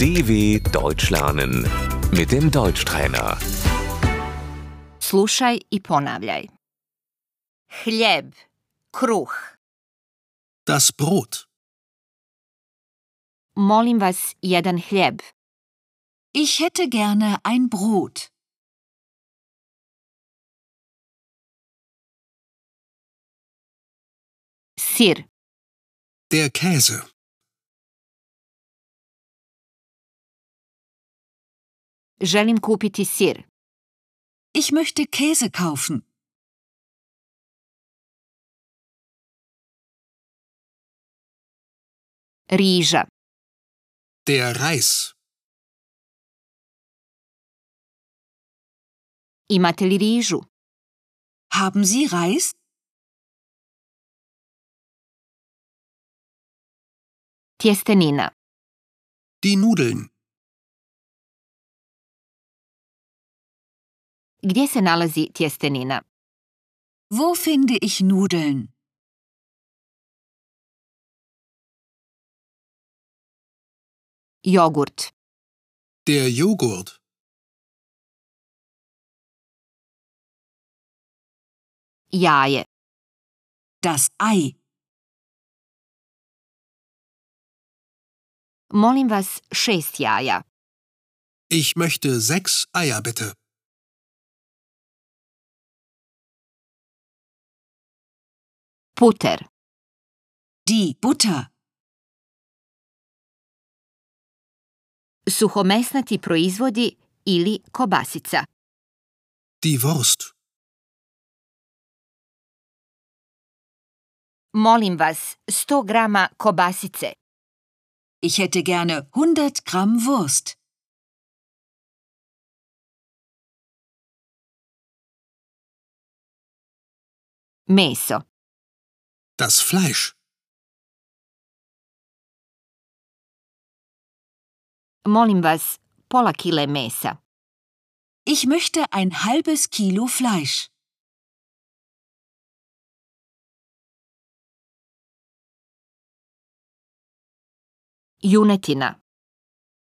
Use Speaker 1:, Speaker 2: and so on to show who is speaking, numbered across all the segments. Speaker 1: DW Deutsch lernen mit dem Deutschtrainer.
Speaker 2: Slušaj i ponavljaj. Hljeb, kruh.
Speaker 3: Das Brot.
Speaker 2: Molim vas jedan hljeb.
Speaker 4: Ich hätte gerne ein Brot.
Speaker 2: Sir,
Speaker 3: Der Käse.
Speaker 2: želim kupiti sir.
Speaker 4: Ich möchte Käse kaufen.
Speaker 2: Riža,
Speaker 3: Der Reis.
Speaker 2: imate li rižu?
Speaker 4: Haben Sie Reis?
Speaker 2: Tjestenina,
Speaker 3: Die Nudeln.
Speaker 2: gdje se nalazi tjestenina?
Speaker 4: Wo finde ich Nudeln?
Speaker 2: Jogurt,
Speaker 3: Der Joghurt.
Speaker 2: jaje,
Speaker 4: Das Ei.
Speaker 2: molim vas šest jaja,
Speaker 3: Ich möchte sechs Eier bitte.
Speaker 2: puter,
Speaker 4: Die Butter.
Speaker 2: suhomesnati proizvodi ili kobasica,
Speaker 3: Die Wurst.
Speaker 2: molim vas 100 grama kobasice,
Speaker 4: Ich hätte gerne 100 Gramm Wurst.
Speaker 2: meso,
Speaker 3: Das Fleisch.
Speaker 2: molim vas pola kile mesa,
Speaker 4: Ich möchte ein halbes Kilo Fleisch.
Speaker 2: junetina,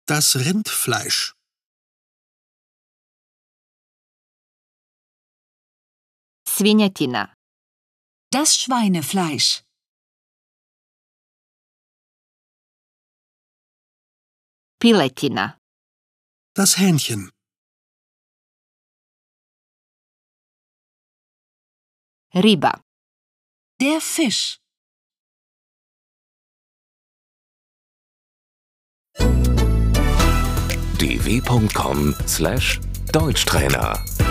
Speaker 3: Das Rindfleisch.
Speaker 2: svinjetina,
Speaker 4: Das Schweinefleisch.
Speaker 2: piletina.
Speaker 3: Das Hähnchen.
Speaker 2: riba,
Speaker 4: Der Fisch.
Speaker 1: dw.com/deutschtrainer